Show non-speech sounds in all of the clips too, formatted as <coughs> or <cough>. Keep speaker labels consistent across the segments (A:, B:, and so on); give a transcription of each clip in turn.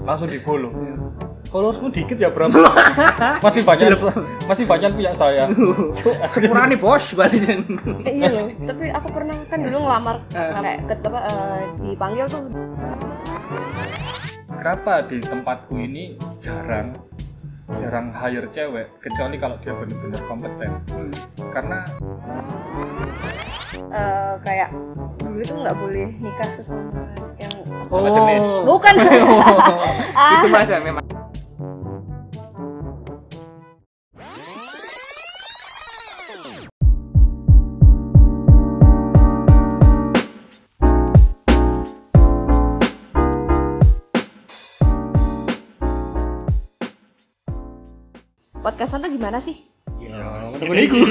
A: langsung di follow followersmu dikit ya berapa masih banyak masih banyak punya saya
B: Sepurane bos balikin.
C: Eh, iya loh tapi aku pernah kan dulu ngelamar kayak ke apa eh, dipanggil tuh
A: kenapa di tempatku ini jarang jarang hire cewek kecuali kalau dia benar-benar kompeten karena
C: eh, kayak dulu itu nggak boleh nikah sesama yang
A: Oh. sama jenis
B: Oh. <laughs>
C: bukan Ah.
B: Itu masa memang.
C: podcastan tuh gimana sih
A: ya,
B: Menunggu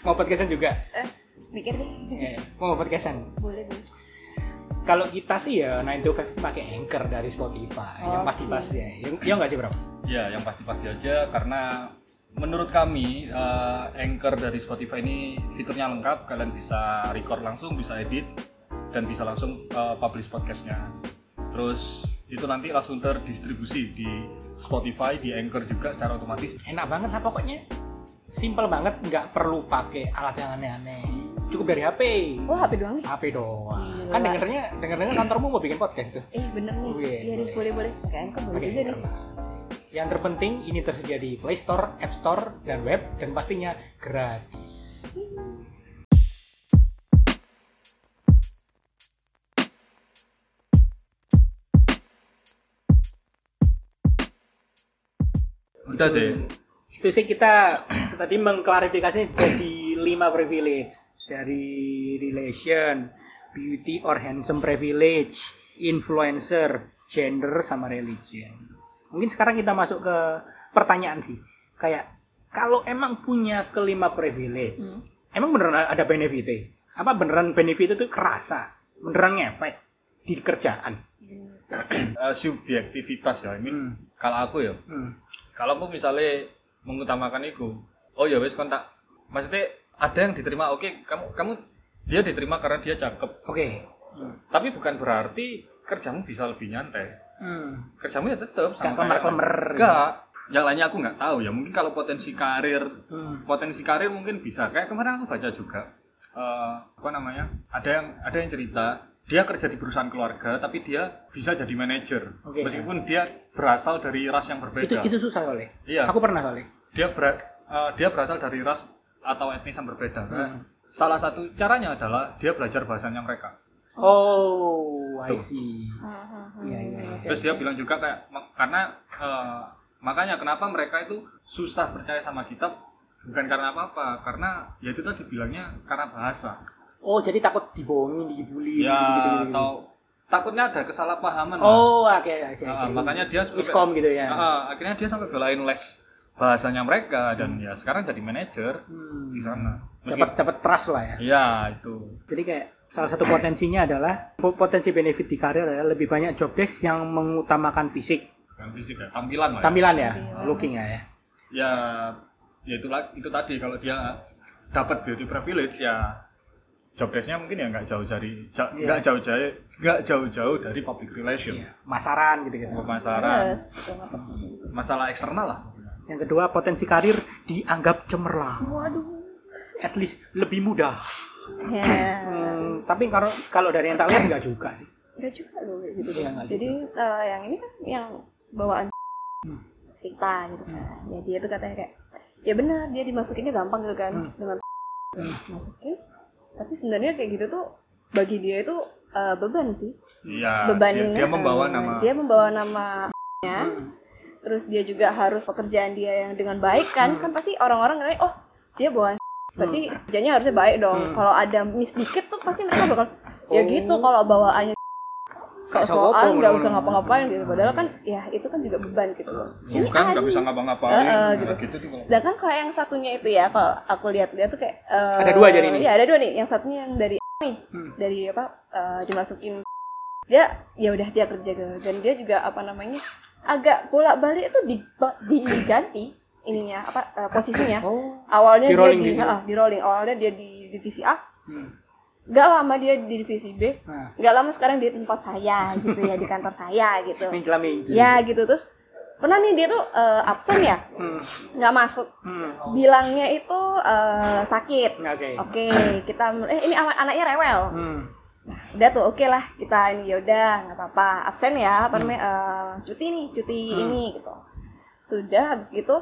B: Mau podcastan juga.
C: eh mikir deh
B: Iya, Mau podcastan.
C: boleh deh
B: Kalau kita sih ya 9 to 5 pakai Anchor dari Spotify. yang
C: Oke.
B: pasti-pasti ya. Yang ya enggak sih, Bro?
A: Ya, yang pasti-pasti aja karena menurut kami eh, anchor dari Spotify ini fiturnya lengkap. Kalian bisa record langsung, bisa edit, dan bisa langsung eh, publish podcastnya. Terus itu nanti langsung terdistribusi di Spotify, di Anchor juga secara otomatis.
B: Enak banget lah pokoknya. Simple banget, nggak perlu pakai alat yang aneh-aneh. Cukup dari HP.
C: wah HP Oh, doang nih
B: HP doang.
C: Gila.
B: Kan dengernya denger-denger kantormu mau bikin podcast tuh.
C: eh bener nih
B: Boleh,
C: iya
B: Oh,
C: nih
B: boleh.
C: boleh boleh pakai anchor boleh
B: Pakai
C: juga nih
B: Anchor lah. Yang terpenting ini tersedia di Play Store, App Store, dan web dan pastinya gratis.
A: Udah sih.
B: Itu sih kita tadi mengklarifikasi jadi lima privilege dari relation, beauty or handsome privilege, influencer, gender sama religion. Mungkin sekarang kita masuk ke pertanyaan sih. Kayak kalau emang punya kelima privilege, emang beneran ada benefitnya? Apa beneran benefit itu kerasa? Beneran ngefek di kerjaan?
A: Eh, subjektivitas ya. Ini
B: Hmm.
A: kalau aku ya,
B: Hmm.
A: kalau aku misalnya mengutamakan itu oh ya wes kontak maksudnya ada yang diterima oke kamu kamu dia diterima karena dia cakep
B: Oke. Hmm.
A: tapi bukan berarti kerjamu bisa lebih nyantai
B: Hmm,
A: kerjamu ya tetap
B: Gak
A: sama kayak-
B: kemer-kemer.
A: enggak yang lainnya aku nggak tahu ya mungkin kalau potensi karir
B: Hmm.
A: potensi karir mungkin bisa kayak kemarin aku baca juga eh, apa namanya ada yang ada yang cerita dia kerja di perusahaan keluarga tapi dia bisa jadi manajer
B: Oke.
A: meskipun dia berasal dari ras yang berbeda
B: Itu itu susah soalnya.
A: Iya.
B: Aku pernah soalnya.
A: dia ber- eh, dia berasal dari ras atau etnis yang berbeda.
B: Hmm.
A: Salah satu caranya adalah dia belajar bahasanya mereka.
B: Oh, I see. Iya, iya. iya.
A: Terus dia bilang juga kayak "Ma- karena eh, makanya kenapa mereka itu susah percaya sama kita bukan karena apa-apa, karena ya itu tadi bilangnya karena bahasa.
B: Oh, jadi takut dibohongin, dibully,
A: Ya
B: gitu-gitu.
A: atau takutnya ada kesalahpahaman. lah.
B: gitu, Oh, oke, I see, I
A: Ah,
B: see.
A: makanya dia sampai-
B: miskom gitu ya.
A: Ah, akhirnya dia sampai belain les bahasanya mereka dan ya sekarang jadi manajer
B: Hmm.
A: di sana.
B: Dapat dapat trust lah ya.
A: Iya, itu.
B: Jadi kayak salah satu potensinya adalah po- potensi benefit di karir adalah lebih banyak job desk yang mengutamakan fisik,
A: Bukan fisik ya, tampilan lah. ya.
B: tampilan ya, looking ya. ya.
A: ya ya itu la- itu tadi kalau dia dapat beauty privilege ya job desk-nya mungkin ya nggak jauh dari ja-
B: Iya.
A: nggak jauh jauh nggak jauh jauh dari public relation
B: Iya, Masaran gitu-gitu.
A: Iya. pemasaran
C: terus gitu, apa.
A: masalah eksternal lah
B: Yang kedua, potensi karir dianggap cemerlang,
C: waduh
B: at least lebih mudah.
C: ya
B: Hmm, tapi kalau kalau dari yang tak lihat nggak juga sih.
C: Enggak juga loh kayak gitu
B: Iya,
C: deh.
B: nggak
C: Jadi eh, yang ini kan yang bawaan
B: Hmm.
C: cerita gitu kan. Ya dia tuh katanya kayak ya benar dia dimasukinnya gampang gitu kan
B: Hmm.
C: dengan masukin. Tapi sebenarnya kayak gitu tuh bagi dia itu eh, beban sih.
A: iya
C: beban
A: dia,
B: kan
A: dia membawa
C: eh,
A: nama Iya,
C: Dia membawa nama nya.
B: Hmm.
C: Terus dia juga harus pekerjaan dia yang dengan baik kan.
B: Hmm.
C: Kan pasti orang-orang ngerasa oh dia bawaan berarti kerjanya harusnya baik dong. Kalau ada miss dikit tuh pasti mereka bakal ya
B: Hmm. Oh.
C: gitu kalau bawaannya
B: Sok-sokan
C: sok-sokan nggak usah
B: ngono.
C: ngapa-ngapain gitu padahal kan ya itu kan juga beban gitu loh
A: bukan Iya, kan
C: Ini
A: nggak
B: kan
C: ada
A: bisa
C: nih.
A: ngapa-ngapain
C: Eh, eh,
A: gitu.
C: gitu.
A: gitu tuh kalau
C: sedangkan kalau yang satunya itu ya kalau aku lihat-lihat tuh kayak eh,
B: Ada dua jadi ini?
C: iya ada dua nih yang satunya yang dari <laughs> nih
B: Hmm.
C: dari apa eh, dimasukin <laughs> dia ya udah dia kerja gitu dan dia juga apa namanya agak bolak-balik itu di, diganti ininya apa eh, posisinya
B: Oh.
C: awalnya
B: Di
C: dia
B: rolling
C: di,
B: gitu.
C: ah, di rolling awalnya dia di divisi A
B: Hmm.
C: Gak lama dia di divisi B,
B: Nah,
C: gak lama sekarang di tempat saya gitu ya di kantor saya gitu.
B: mencela mencela.
C: Ya gitu terus pernah nih dia tuh eh, absen ya,
B: Hmm.
C: nggak masuk.
B: Hmm.
C: Bilangnya itu eh, sakit.
B: Oke.
C: Oke, kita eh ini anak anaknya rewel.
B: Hmm.
C: Nah, udah tuh oke lah kita ini yaudah nggak apa-apa absen ya apa namanya eh, cuti nih cuti
B: Hmm.
C: ini gitu sudah habis gitu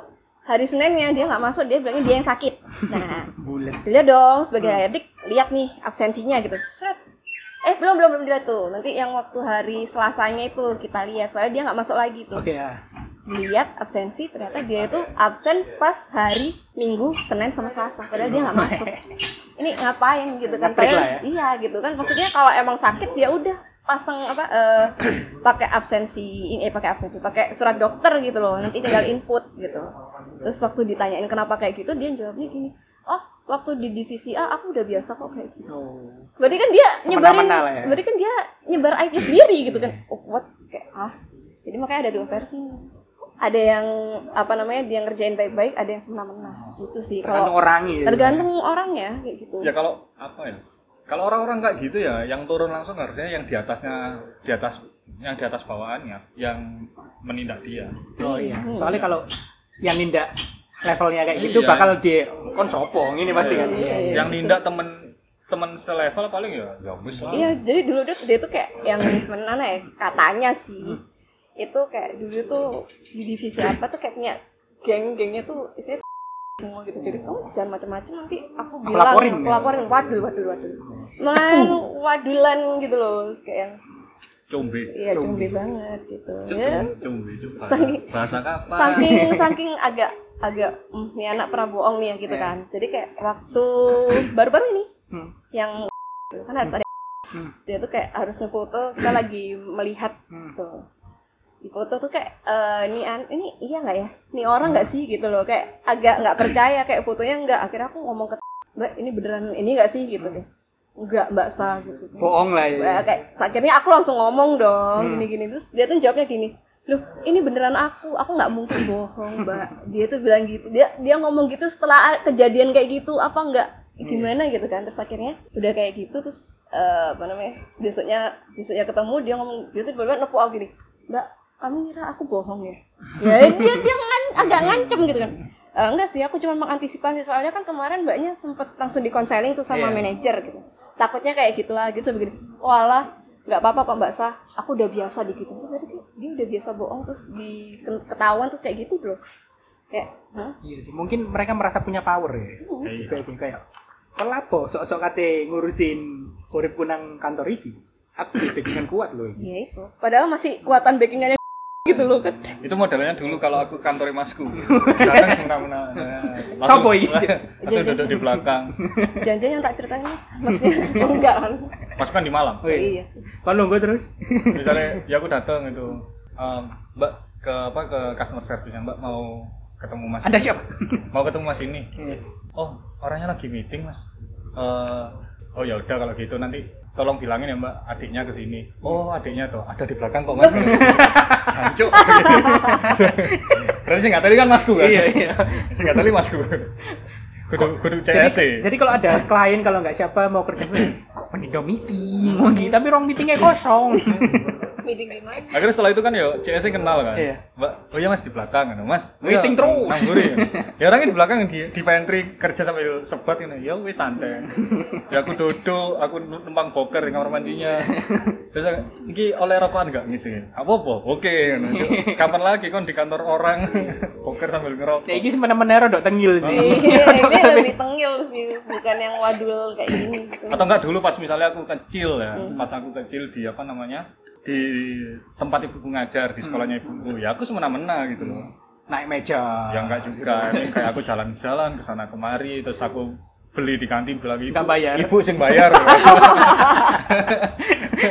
C: hari Seninnya dia nggak masuk dia bilangnya dia yang sakit nah
B: Bulat.
C: dilihat dong sebagai adik lihat nih absensinya gitu Seret. eh belum belum belum dilihat tuh nanti yang waktu hari Selasanya itu kita lihat soalnya dia nggak masuk lagi tuh
B: Oke ya.
C: lihat absensi ternyata dia itu absen pas hari Minggu Senin sama Selasa padahal dia nggak masuk ini ngapain gitu kan
B: Ngetrik
C: Padahal-
B: lah ya.
C: iya gitu kan maksudnya kalau emang sakit ya udah pasang apa eh, <clears throat> pakai absensi ini eh pakai absensi pakai surat dokter gitu loh nanti tinggal input gitu terus waktu ditanyain kenapa kayak gitu dia jawabnya gini oh waktu di divisi A aku udah biasa kok kayak gitu
B: Oh.
C: berarti kan dia nyebarin
B: Semena-mena lah ya. Iya.
C: berarti kan dia nyebar IP sendiri gitu kan oh, what kayak ah jadi makanya ada dua versi ada yang apa namanya dia ngerjain baik-baik ada yang semena-mena gitu sih
B: Tergantung
C: kalau
B: orangnya. ya.
C: tergantung orangnya kayak gitu
A: ya kalau apa ya kalau orang-orang kayak gitu ya yang turun langsung harusnya yang di atasnya di atas yang di atas bawaannya yang menindak dia
B: Oh iya. Soalnya kalau yang nindak levelnya kayak gitu
A: Iya.
B: bakal di kon sopo ini pasti kan.
C: Iya, iya.
A: yang nindak temen temen selevel paling ya ya wis lah
C: Iya, jadi dulu tuh dia tuh kayak yang sebenarnya ya katanya sih itu kayak dulu tuh di divisi apa tuh kayak punya geng-gengnya tuh isinya semua gitu jadi kamu jangan macam-macam nanti aku bilang
B: laporin
C: aku
B: ya.
C: laporin wadul wadul wadul main wadulan gitu loh terus kayak yang
A: cumbi
C: iya cumbi banget gitu ya
A: cumbi cumbi cumbi.
C: Saking-
A: bahasa kapan
C: saking
B: <laughs>
C: saking agak agak "Hmm, nih anak pernah bohong nih ya gitu
B: Iya.
C: kan jadi kayak waktu baru-baru ini
B: Hmm.
C: yang kan harus ada
B: Hmm.
C: dia tuh kayak harus ngefoto kita lagi melihat
B: Hmm.
C: tuh di foto tuh kayak eh, ini an- ini iya nggak ya ini orang nggak sih gitu loh kayak agak nggak percaya kayak fotonya nggak akhirnya aku ngomong ke mbak ini beneran ini nggak sih gitu
B: Hmm.
C: deh nggak mbak sa gitu
B: Bohong lah ya.
C: Wah, kayak akhirnya aku langsung ngomong dong gini-gini terus dia tuh jawabnya gini loh ini beneran aku aku nggak mungkin bohong mbak dia tuh bilang gitu dia dia ngomong gitu setelah a- kejadian kayak gitu apa nggak gimana gitu kan terus akhirnya udah kayak gitu terus eh, apa namanya besoknya besoknya ketemu dia ngomong dia tuh tiba-tiba nepuk aku gini mbak kamu ngira aku bohong ya ya dia dia ngan- agak ngancem gitu kan "Eh, enggak sih aku cuma mengantisipasi soalnya kan kemarin mbaknya sempet langsung di konseling tuh sama
B: Iya.
C: manajer gitu takutnya kayak gitulah gitu begini walah nggak apa-apa pak mbak sah aku udah biasa di gitu berarti kayak dia udah biasa bohong terus di ketahuan terus kayak gitu loh kayak hah?
B: Iya sih. Mungkin mereka merasa punya power ya.
C: Hmm.
A: Iya.
B: Kayak kayak kelapo sok-sok kate ngurusin urip kunang kantor iki. Aku backingan kuat loh ini.
C: ya itu padahal masih kuatan backingannya gitu loh kan
A: itu modelnya dulu kalau aku kantor masku
C: <laughs>
A: datang sing ramena
B: Sopo iki?
A: <laughs> langsung
C: Iya,
A: duduk di belakang
C: janjian yang tak ceritain maksudnya <laughs> oh, enggak kan
A: mas kan di Malang
B: Oh iya.
C: iya sih
B: Kon nunggu terus.
A: misalnya ya aku datang itu "Em, mbak ke apa ke customer service mbak mau ketemu mas
B: Anda siapa?
A: <laughs> mau ketemu mas ini
B: Iya.
A: oh orangnya lagi meeting mas Eh, oh ya udah kalau gitu nanti tolong bilangin ya mbak adiknya ke sini oh adiknya tuh ada di belakang kok
B: <laughs>
A: mas jancuk berarti sih nggak tadi kan masku kan
B: Iya, iya.
A: sih nggak tadi masku kudu kudu
B: Jadi,
A: CSC
B: jadi kalau ada klien kalau nggak siapa mau kerja kok penindo meeting ngono tapi ruang meetingnya kosong.
A: <laughs>
C: meeting di mana
A: akhirnya setelah itu kan yo CSC kenal kan
B: Iya.
A: mbak oh iya mas di belakang kan mas
B: Meeting
A: Iya,
B: terus.
A: nangguri
B: <laughs>
A: ya. ya orangnya di belakang di di pantry kerja sambil sebat gitu ya wis
B: <laughs>
A: santai ya aku duduk aku numpang boker di kamar
B: <laughs>
A: mandinya terus aku, iki oleh rokokan nggak ngisi apa apa
B: <laughs>
A: oke kapan lagi kan di kantor orang <laughs> boker sambil ngerokok
B: Nah, ini sebenarnya rodok tengil sih. <laughs>
C: ini lebih tengil sih bukan yang wadul kayak gini gitu.
A: atau enggak dulu pas misalnya aku kecil ya
B: Hmm.
A: pas aku kecil di apa namanya di tempat ibuku ngajar di
B: Hmm.
A: sekolahnya ibuku ya aku semena-mena gitu loh
B: Naik meja.
A: ya
B: <laughs>
A: enggak juga ini kayak aku jalan-jalan ke sana kemari terus aku beli di kantin bilang ibu
B: Enggak bayar."
A: ibu sing
B: <laughs>
A: bayar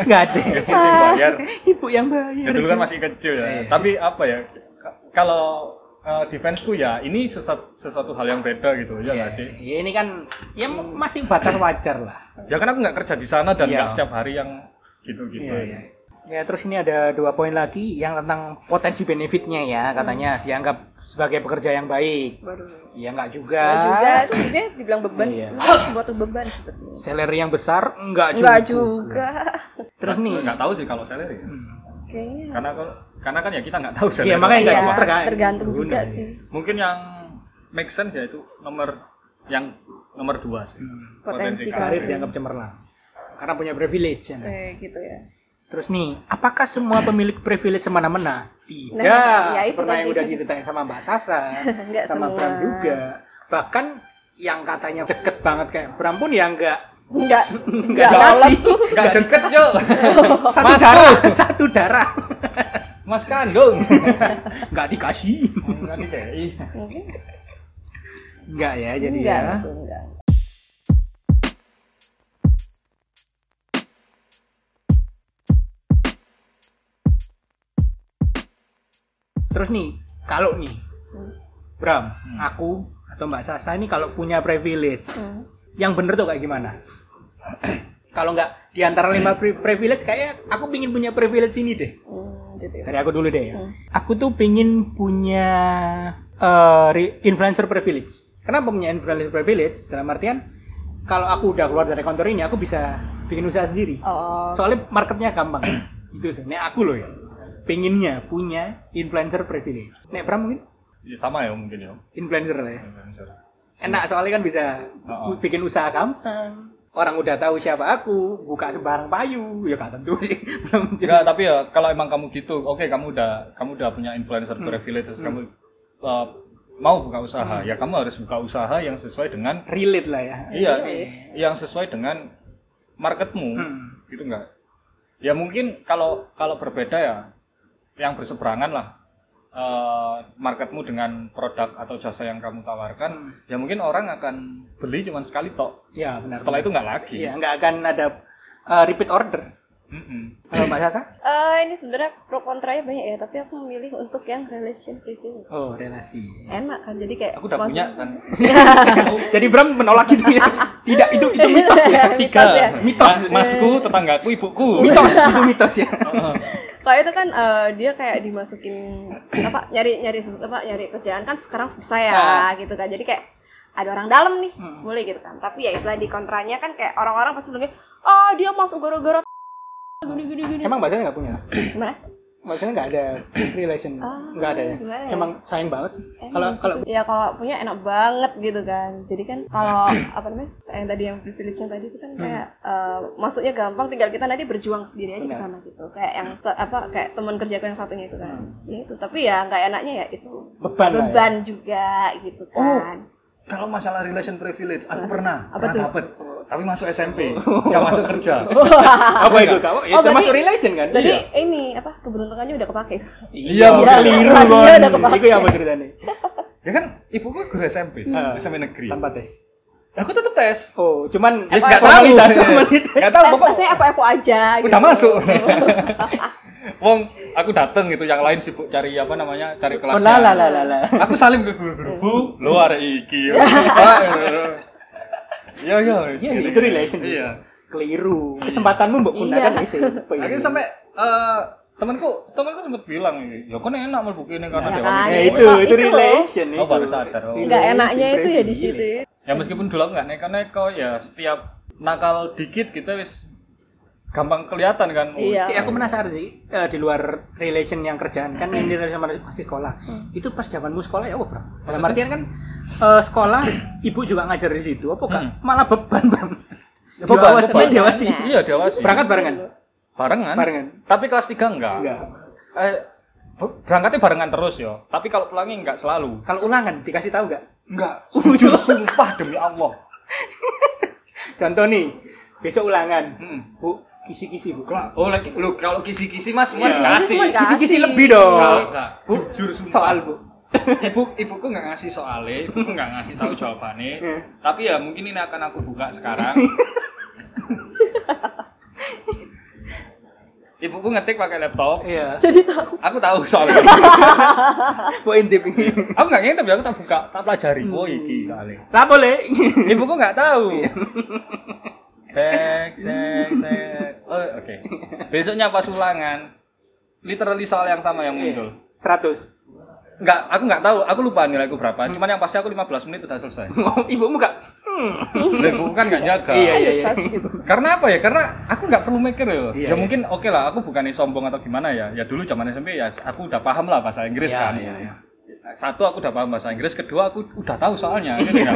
B: Nggak ada.
A: ibu sing bayar
B: <laughs> Ibu yang
A: ya
B: bayar.
A: dulu kan masih kecil
B: Iya.
A: ya tapi apa ya ka- kalau eh, defenseku ya ini sesuatu, sesuatu hal yang beda gitu ya nggak sih
B: Ya, ini kan ya masih batas wajar lah.
A: ya kan aku nggak kerja di sana dan
B: Iya.
A: nggak setiap hari yang gitu gitu
B: Iya, iya. Ya, terus ini ada dua poin lagi yang tentang potensi benefitnya ya,
C: Hmm.
B: katanya dianggap sebagai pekerja yang baik.
C: Baru
B: Ya nggak juga.
C: Nggak juga itu dia dibilang beban.
B: Iya.
C: Itu suatu beban sepertinya.
B: Salary yang besar enggak juga.
C: Enggak juga.
B: Terus nih.
A: nggak tahu sih kalau salary ya.
C: Kayaknya.
A: karena kalau karena kan ya kita nggak tahu salary
B: Hmm. Iya, makanya nggak
C: Iya,
B: juga, tergantung.
C: tergantung juga
B: Bener.
C: sih
A: mungkin yang make sense ya itu nomor yang nomor dua sih
B: Hmm.
C: potensi
B: Karir
C: karir.
B: dianggap cemerlang. Karena punya privilege ya.
C: Kayak gitu ya.
B: Terus nih, apakah semua pemilik privilege semena-mena? Tidak.
C: Nah, ya itu
B: seperti yang
C: tadi.
B: udah diceritain sama Mbak Sasa,
C: <laughs> Nggak
B: sama
C: semua.
B: Bram juga. Bahkan yang katanya deket banget kayak Bram pun ya enggak
C: Enggak
B: <laughs> Nggak
C: enggak lolos
B: kasih.
C: tuh.
A: nggak deket
B: <laughs>
A: cok
C: Oh.
B: satu
A: Mas
B: darah, <laughs> satu darah.
A: mas kandung
B: Enggak dikasih.
A: nggak DKI
C: Mungkin
B: Enggak ya, jadi
C: enggak
B: ya.
C: gitu, enggak.
B: Terus nih, kalau nih
C: Hmm.
B: Bram, aku atau Mbak Sasa ini kalau punya privilege,
C: Hmm.
B: yang bener tuh kayak gimana? <clears throat> kalau nggak di antara lima pri- privilege kayak aku pingin punya privilege ini deh.
C: Hmm, gitu ya.
B: Dari aku dulu deh ya.
C: Hmm.
B: Aku tuh pingin punya eh, re- influencer privilege. Kenapa punya influencer privilege? Dalam artian kalau aku udah keluar dari kantor ini aku bisa bikin usaha sendiri.
C: Oh,
B: Soalnya marketnya gampang. <clears throat> Itu sih. Nek aku loh ya. Pinginnya punya influencer privilege. Nek Bram mungkin
A: ya sama ya mungkin ya
B: influencer lah ya. Enak soalnya kan bisa
A: Oh, oh.
B: bikin usaha gampang. Orang udah tahu siapa aku, buka sembarang payu, ya gak tentu <laughs> sih. Belum
A: Enggak, tapi ya kalau emang kamu gitu oke kamu udah kamu udah punya influencer
B: Hmm.
A: privilege terus kamu uh, mau buka usaha ya kamu harus buka usaha yang sesuai dengan
B: relate lah ya.
A: Iya, yang sesuai dengan marketmu,
B: Hmm.
A: gitu enggak? Ya mungkin kalau kalau berbeda ya, yang berseberangan lah eh, marketmu dengan produk atau jasa yang kamu
B: Hmm.
A: tawarkan, ya mungkin orang akan beli cuma sekali tok.
B: Ya benar.
A: Setelah itu nggak lagi.
B: Iya, nggak akan ada uh, repeat order.
A: Mm-mm.
B: Kalau Mbak Sasa?
C: Eh, ini sebenarnya pro kontranya banyak ya, tapi aku memilih untuk yang relation privilege.
B: Oh, relasi.
C: Enak kan, jadi kayak
A: Aku udah
C: masuk-
A: punya kan.
B: <laughs> Jadi Bram menolak itu ya. Tidak, itu itu mitos
A: <laughs>
B: ya.
A: Tiga.
C: Mitos ya.
B: Mitos.
A: Mas- masku, tetanggaku, ibuku.
B: Mitos, itu mitos
A: <laughs>
B: ya.
A: Heeh.
C: Kalau itu kan eh, dia kayak dimasukin apa nyari nyari sesu- apa nyari kerjaan kan sekarang susah ya
B: Ah.
C: gitu kan. Jadi kayak ada orang dalam nih,
B: Hmm.
C: boleh gitu kan. Tapi ya itu di kontranya kan kayak orang-orang pasti bilangnya, "Oh, dia masuk gara-gara gini gini gini."
B: Emang Mbak Sasa nggak punya?
C: gimana?
B: Mbak Sasa nggak ada relation,
C: Ah,
B: nggak ada ya.
C: gimana ya?
B: Emang sayang banget sih.
C: Emang
B: Kalau
C: sih.
B: kalau
C: ya kalau punya enak banget gitu kan. Jadi kan
B: <laughs>
C: kalau apa namanya? yang tadi yang privilege yang tadi itu
B: Hmm.
C: kan kayak eh, masuknya gampang tinggal kita nanti berjuang sendiri aja ke
B: Benar.
C: sana gitu. Kayak yang se- apa kayak teman kerjaku yang satunya itu kan. Ya itu, tapi ya nggak enaknya ya itu
B: Hmm. beban, lah ya. Oh.
C: beban juga gitu kan.
A: Kalau masalah relation privilege, aku pernah,
C: Apa tuh?
A: pernah dapet. Tapi masuk SMP, nggak masuk kerja.
B: apa itu kamu? Ya,
C: Oh, berarti-
B: termasuk relation kan?
C: Jadi ini apa keberuntungannya udah kepake.
B: Iya,
A: Iya,
B: iya liru
C: iya,
B: kan.
C: udah kepake.
B: Itu yang aku ceritain.
A: Ya kan, ibuku guru SMP,
B: Hmm.
A: SMP negeri.
B: Tanpa tes.
A: Aku tetap tes.
B: Oh, cuman
A: Ya,
B: apa-
A: nggak tahu.
B: formalitas, formalitas.
A: Nggak tahu,
C: Tes
A: pokok-
C: tesnya apa apa aja.
A: udah
C: gitu.
A: masuk. <laughs> Wong, aku dateng gitu, yang lain sibuk cari apa namanya, cari
B: Oh, lah lah
A: kelasnya.
B: lah lah, lah.
A: Aku salim ke guru guru, bu, lu ada iki. gitu. Iya iya.
B: Iya, itu relation.
A: Iya.
B: Keliru. Kesempatanmu mbok gunakan
C: Iya.
B: isi.
A: <laughs> Akhirnya sampai eh, temanku temanku sempat bilang, ya kok enak mau buku ini karena dia
C: Nah,
A: gitu."
C: kan,
A: orang
B: Ya,
A: tua."
B: itu,
C: Itu-
B: itu
C: itu loh.
B: relation
A: iya.
B: Iya,
A: Oh, baru sadar. Oh.
C: Nggak enaknya itu ya di situ. ya.
A: ya meskipun dulu aku nggak neko-neko ya setiap nakal dikit kita wis gampang kelihatan kan
C: Iya.
B: Si aku penasaran sih eh, di luar relation yang kerjaan kan yang di relation sama masih sekolah.
C: Hmm.
B: Itu pas zamanmu sekolah ya, oh, Bro. Dalam artian kan eh, sekolah ibu juga ngajar di situ. Apa Kak? Malah beban, Bro.
A: Ya, beban,
B: Diawas-
A: Hmm. beban.
B: diawasi.
A: iya diawasi
B: Berangkat barengan.
A: barengan
B: Barengan.
A: tapi kelas 3 enggak,
B: Enggak.
A: Eh, ber- berangkatnya barengan terus ya tapi kalau pulangnya enggak selalu
B: Kalau ulangan dikasih tahu nggak?
A: enggak jujur sumpah demi Allah
B: Contoh nih, besok ulangan.
A: Hmm.
B: Bu, kisi-kisi, Bu.
A: oh lagi lu kalau kisi-kisi mas mas
B: Iya.
A: kasih
C: Kisi-kisi, Mas.
B: Kisi-kisi
C: Kasih.
B: lebih dong.
A: Enggak, enggak.
B: Bu,
A: Jujur, sumpah.
B: Soal, Bu.
A: ibu ibuku nggak ngasih soalnya ibuku nggak ngasih tahu jawabannya
B: <laughs> Iya.
A: tapi ya mungkin ini akan aku buka sekarang
B: <laughs>
A: ibuku ngetik pakai laptop
B: Iya.
C: Jadi tahu.
A: aku tahu soalnya
B: <laughs> Bu intip
A: <laughs>
B: ini.
A: aku nggak ngintip ya aku tak buka tak pelajari oh
B: Hmm.
A: iki soalnya
B: Lah boleh. Iya.
A: ibuku nggak tahu cek cek cek Oh, oke. Besoknya pas ulangan, literally soal yang sama yang
B: Iya.
A: muncul.
B: 100.
A: Enggak, aku nggak tahu, aku lupa nilaiku berapa. Cuman yang pasti aku 15 menit udah
B: <laughs>
A: selesai.
B: <laughs> Ibumu gak? Hmm.
A: Lah, aku kan nggak jaga.
B: Iya, iya, iya.
C: Sas gitu.
A: Karena apa ya? Karena aku nggak perlu mikir ya.
B: Iya,
A: ya
B: iya.
A: mungkin oke lah, aku bukannya sombong atau gimana ya. Ya dulu zaman SMP ya aku udah paham lah bahasa Inggris
B: Iya,
A: kan.
B: iya, iya.
A: Satu aku udah paham bahasa Inggris, kedua aku udah tahu soalnya. ngerti nggak?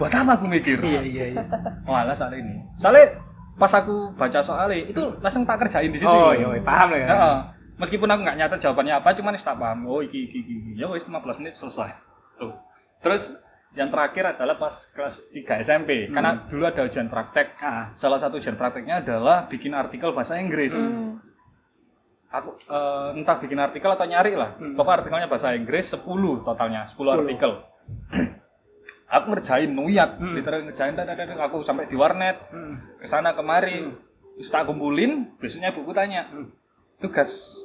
A: Buat apa aku mikir?
B: Iya, iya, iya.
A: Oh, alah soal ini. Soalnya pas aku baca soalnya itu langsung tak kerjain di situ.
B: Oh, iya, iya. paham lah ya.
A: Heeh. meskipun aku nggak nyata jawabannya apa, cuman tak paham. Oh, iki iki iki. iki. Ya wis 15 menit selesai. Tuh. Terus yang terakhir adalah pas kelas 3 SMP. Karena dulu ada ujian praktek.
B: Hmm. Ah.
A: Salah satu ujian prakteknya adalah bikin artikel bahasa Inggris.
C: Hmm.
A: Aku eh, entah bikin artikel atau nyari lah. Pokoknya artikelnya bahasa Inggris 10 totalnya, 10, artikel. <clears throat> aku ngerjain nuyat, literally ngerjain dah, dah, dah, dah. aku sampai di warnet
B: Hmm.
A: kesana kemari terus tak kumpulin besoknya ibuku tanya tugas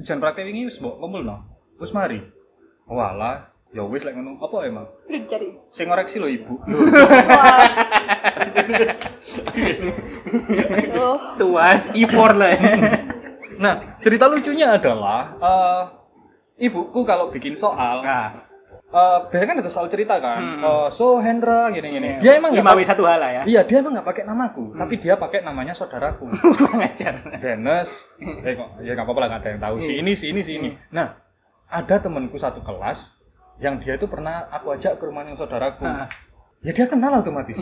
A: ujian praktek ini wis mbok kumpul no wis mari walah ya wis lek ngono apa emang
C: Udah dicari.
A: sing ngoreksi lho ibu
C: Oh,
B: Tuas E4 lah. ya.
A: nah cerita lucunya adalah eh, ibuku kalau bikin soal
B: Nah,
A: eh, biasanya kan ada soal cerita kan Eh, so Hendra gini-gini dia emang nggak
B: Hmm. Iya. lima W
A: pakai-
B: satu hal lah ya. Hmm.
A: iya dia emang nggak pakai namaku tapi dia pakai namanya saudaraku
B: Kurang ajar.
A: Zenes, eh kok ya nggak apa-apa lah nggak ada yang tahu. Si
B: Hmm.
A: ini, si ini, si ini. Nah, ada temanku satu kelas yang dia itu pernah aku ajak ke rumahnya saudaraku.
B: Ah.
A: Ya dia kenal
B: <laughs>
A: otomatis.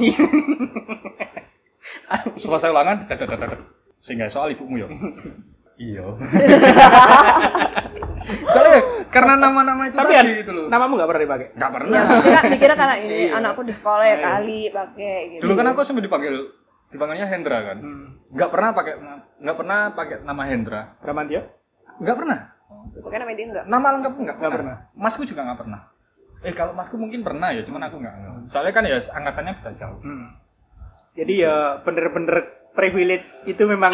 A: Selesai ulangan, dadah, dadah, dadah. sehingga soal ibumu yo. Iya.
B: <laughs>
A: Soalnya ya, karena nama-nama itu
B: Tapi Iya.
A: tadi
B: kan
A: gitu loh.
B: namamu gak pernah dipakai.
A: Nggak pernah. Iya.
C: ya mikirnya, mikirnya karena ini anakku di sekolah ya kali pakai gitu.
A: Dulu kan aku sempat dipanggil dipanggilnya Hendra kan. Nggak pernah pakai nggak pernah pakai nama Hendra.
B: Ramantio?
A: Nggak pernah.
C: Pakai nama dia enggak.
A: Nama lengkap nggak
B: Nggak
A: pernah. Masku juga nggak pernah. Eh kalau masku mungkin pernah ya, cuman aku nggak. Soalnya kan ya angkatannya beda jauh.
B: Hmm. Jadi ya bener-bener privilege itu <coughs> memang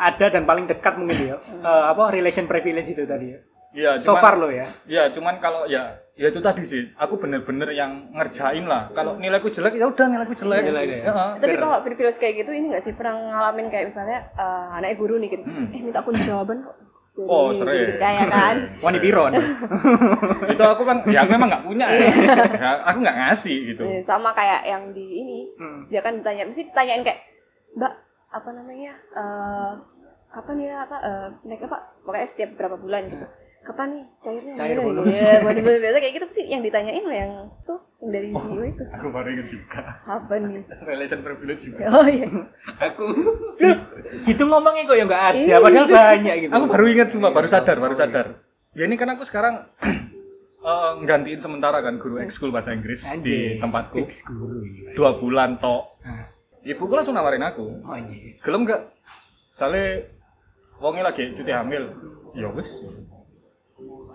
B: ada dan paling dekat mungkin ya. Eh, apa relation privilege itu tadi ya.
A: Iya,
B: So
A: cuman-
B: far lo ya.
A: Iya, cuman kalau ya ya itu tadi sih, aku bener-bener yang ngerjain lah. Kalau nilaiku jelek ya udah nilaiku jelek.
B: Jelek ya.
A: Heeh.
C: Tapi kalau privilege kayak gitu ini enggak sih pernah ngalamin kayak misalnya eh, anaknya guru nih gitu. Eh minta aku jawaban kok. Jadi
A: Hmm. Oh,
C: gitu,
A: sering.
C: gitu, kayak kan.
B: Wani Biron.
A: itu aku kan ya aku memang nggak punya
C: Iya.
A: ya. Ya, aku nggak ngasih <laughs> gitu.
C: Eh, Sama kayak yang di ini.
B: Hmm.
C: Dia kan ditanya, mesti ditanyain kayak, "Mbak, apa namanya? eh kapan ya apa eh, naik apa? Pokoknya setiap berapa bulan gitu. Kapan nih cairnya?
B: Cair
C: Iya,
B: bonus.
C: Iya, bonus-bonus biasa kayak gitu sih yang ditanyain loh yang tuh yang dari
B: Oh.
C: CEO itu.
A: Aku baru inget juga.
C: Apa nih?
A: Relation privilege juga.
C: Oh iya.
A: Aku
B: gitu ngomongnya kok ya nggak ada,
C: Iya.
B: padahal banyak gitu.
A: aku baru ingat semua, baru sadar, baru sadar. Ya ini kan aku sekarang <clears throat> eh, nggantiin sementara kan guru ekskul bahasa Inggris di
B: Anjing.
A: tempatku.
B: Fix guru ya.
A: dua bulan tok
B: Ah.
A: Ya, ibuku langsung nawarin aku
B: Oh iya.
A: gelem gak soalnya wongnya lagi cuti hamil ya wis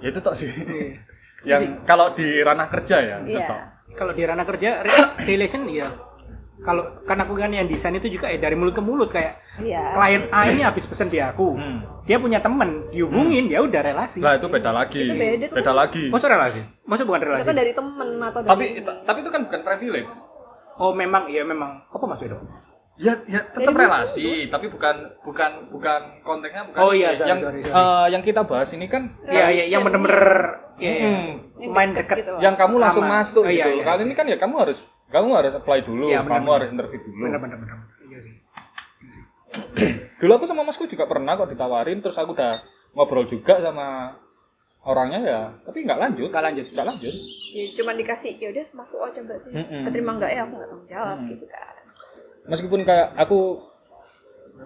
A: ya itu
B: <laughs>
A: tok sih
B: Iya.
A: yang kalau di ranah kerja ya itu
C: Iya.
A: tok
B: Kalau di ranah kerja re- relation ya. Kalau kan aku kan yang desain itu juga ya dari mulut ke mulut kayak
C: Iya.
B: klien A ini habis pesen di aku.
A: Hmm.
B: Dia punya temen, dihubungin ya udah relasi.
A: lah itu beda lagi
C: Itu beda
B: kan
C: tuh.
A: lagi
B: Maksud relasi? Maksud bukan
C: Itu
B: relasi?
C: kan dari temen atau dari
A: tapi tapi itu kan bukan privilege
B: Oh memang, iya memang. Apa maksudnya dong?
A: ya ya tetap relasi tapi bukan bukan bukan konteksnya bukan
B: Oh iya, sorry,
A: yang
B: sorry, sorry.
A: eh, yang kita bahas ini kan
B: Iya, iya, yang bener-bener ya, ya.
A: Hmm.
B: main dekat.
C: gitu.
A: yang kamu langsung
B: Aman.
A: masuk
B: Oh, iya,
A: gitu
B: iya,
A: kali
B: sih.
A: ini kan ya kamu harus kamu harus apply dulu
B: Iya,
A: kamu
B: benar-benar.
A: harus interview dulu
B: Bener, bener, bener. Iya sih.
A: dulu aku sama masku juga pernah kok ditawarin terus aku udah ngobrol juga sama orangnya ya tapi nggak lanjut
B: Nggak lanjut.
A: nggak lanjut
C: ya, cuman dikasih ya udah masuk oh coba sih
A: Mm-mm.
C: keterima nggak ya aku nggak tanggung jawab gitu kan
B: Iya,
A: meskipun kayak aku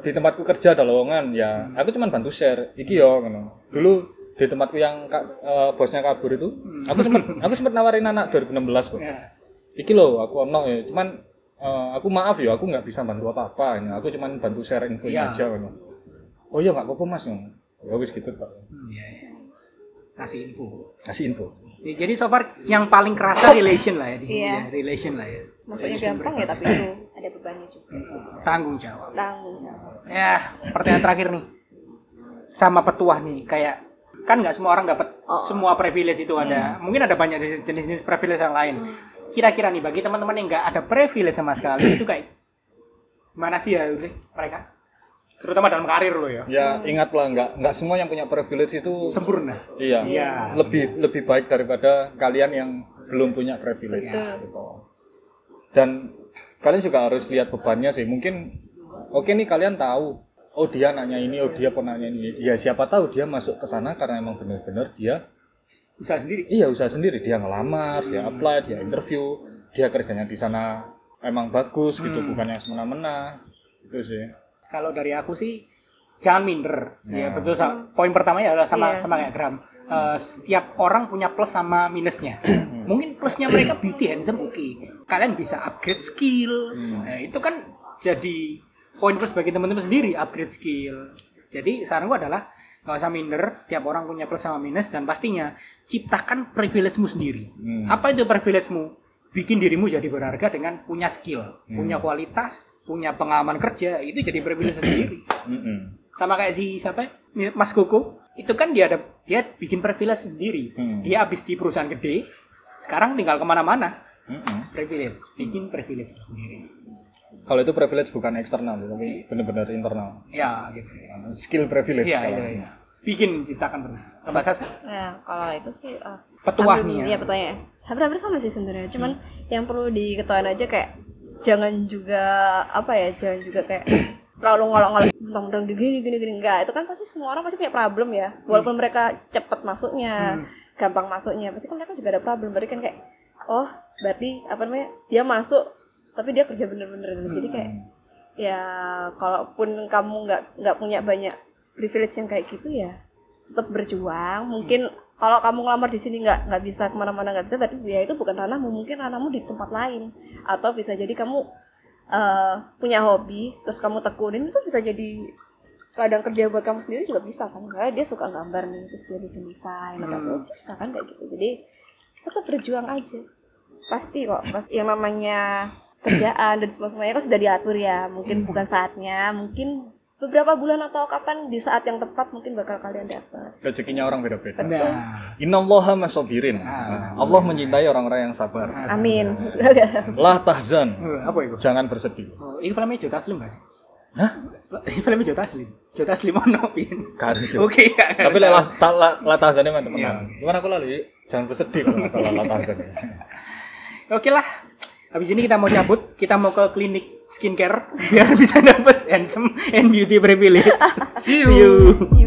A: di tempatku kerja ada lowongan ya
B: Hmm.
A: aku cuman bantu share iki yo ngono dulu di tempatku yang ka- eh, bosnya kabur itu
B: Hmm.
A: aku sempet aku sempet nawarin anak 2016 kok
B: Ya.
A: iki loh aku ono ya cuman eh, aku maaf ya aku nggak bisa bantu apa apa aku cuman bantu share info
B: Iya.
A: aja ngono oh iya nggak apa-apa mas ngono. ya wis gitu tak
B: Hmm, ya, ya. Kasih info.
A: kasih info
B: Ya, jadi so far yang paling kerasa relation lah ya di sini
C: Iya.
B: ya. Relation lah ya.
C: maksudnya gampang ya tapi itu ada bebannya juga
B: Tanggung jawab.
C: tanggung jawab
B: Ya, pertanyaan terakhir nih. Sama petuah nih, kayak kan nggak semua orang dapat
C: Oh. Hmm.
B: semua privilege itu ada. Mungkin ada banyak jenis- jenis-jenis privilege yang lain. Kira-kira nih bagi teman-teman yang nggak ada privilege sama sekali itu kayak mana sih ya Uli, mereka? terutama dalam karir lo ya
A: Ya ingatlah nggak nggak semua yang punya privilege itu
B: sempurna
A: iya
B: Iya.
A: lebih lebih baik daripada kalian yang belum punya privilege.
C: Betul.
A: gitu. Dan kalian juga harus lihat bebannya sih. Mungkin oke nih kalian tahu oh dia nanya ini oh dia pernah nanya ini. Ya siapa tahu dia masuk ke sana karena emang benar-benar dia
B: usaha sendiri
A: iya usaha sendiri dia ngelamar, dia apply, dia interview, dia kerjanya di sana emang bagus gitu bukannya semena-mena gitu sih.
B: kalau dari aku sih jangan minder
A: Ya.
B: ya betul sa- poin pertamanya adalah sama
C: Iya,
B: sama kayak Gram Eh, setiap orang punya plus sama minusnya
A: Hmm.
B: mungkin plusnya mereka beauty handsome oke kalian bisa upgrade skill
A: Hmm.
B: Nah, itu kan jadi poin plus bagi teman-teman sendiri upgrade skill jadi saran gua adalah nggak usah minder tiap orang punya plus sama minus dan pastinya ciptakan privilege-mu sendiri
A: Hmm.
B: apa itu privilege-mu bikin dirimu jadi berharga dengan punya skill
A: Hmm.
B: punya kualitas punya pengalaman kerja itu jadi privilege sendiri
A: Mm-mm.
B: sama kayak si siapa ya? Mas Koko itu kan dia ada dia bikin privilege sendiri
A: Hmm.
B: dia habis di perusahaan gede sekarang tinggal kemana-mana
A: Mm-mm.
B: privilege bikin privilege sendiri
A: Kalau itu privilege bukan eksternal, tapi benar-benar internal.
B: ya gitu ya
A: Skill privilege. ya.
B: iya
A: kalau
B: iya
A: ini.
B: iya. bikin ciptakan pernah Mbak Sasa
C: Nah, kalau itu sih eh,
B: petuahnya
C: Iya petuahnya. Hampir-hampir sama sih sebenarnya. Cuman yang perlu diketahui aja kayak jangan juga apa ya, jangan juga kayak terlalu ngolok-ngolok tentang di gini gini gini enggak itu kan pasti semua orang pasti punya problem ya walaupun mereka cepet masuknya gampang masuknya pasti kan mereka juga ada problem berarti kan kayak oh berarti apa namanya dia masuk tapi dia kerja bener-bener jadi
A: Hmm.
C: kayak ya kalaupun kamu nggak nggak punya banyak privilege yang kayak gitu ya tetap berjuang mungkin kalau kamu ngelamar di sini nggak nggak bisa kemana-mana nggak bisa berarti ya itu bukan ranahmu mungkin ranahmu di tempat lain atau bisa jadi kamu eh, punya hobi terus kamu tekunin itu bisa jadi ladang kerja buat kamu sendiri juga bisa kan misalnya dia suka gambar nih terus dia bisa desain atau apa, bisa kan kayak gitu jadi tetap berjuang aja pasti kok pasti yang namanya kerjaan dan semua semuanya kan sudah diatur ya mungkin bukan saatnya mungkin beberapa bulan atau kapan di saat yang tepat mungkin bakal kalian dapat
A: Rezekinya orang beda-beda.
B: nah
A: Innallaha masabirin. Nah,
B: Ah.
A: Allah mencintai orang-orang yang sabar.
C: amin <laughs> Ah.
A: La tahzan.
B: Nah. Eh, apa itu
A: Jangan bersedih.
B: Oh, ini filmnya Jota Slim gak sih?
A: Hah?
B: Ini filmnya Jota Slim. Jota Slim ono pin.
A: Kan Jo.
B: Oke. ya.
A: Tapi la, ta, la, la tahzannya mantep
B: Iya.
A: menang. Cuman aku lalu jangan bersedih kalau masalah la tahzan.
B: Oke lah. Habis ini kita mau cabut, kita mau ke <laughs> klinik skincare biar bisa dapet handsome and beauty privilege. <laughs> See you.
C: See you.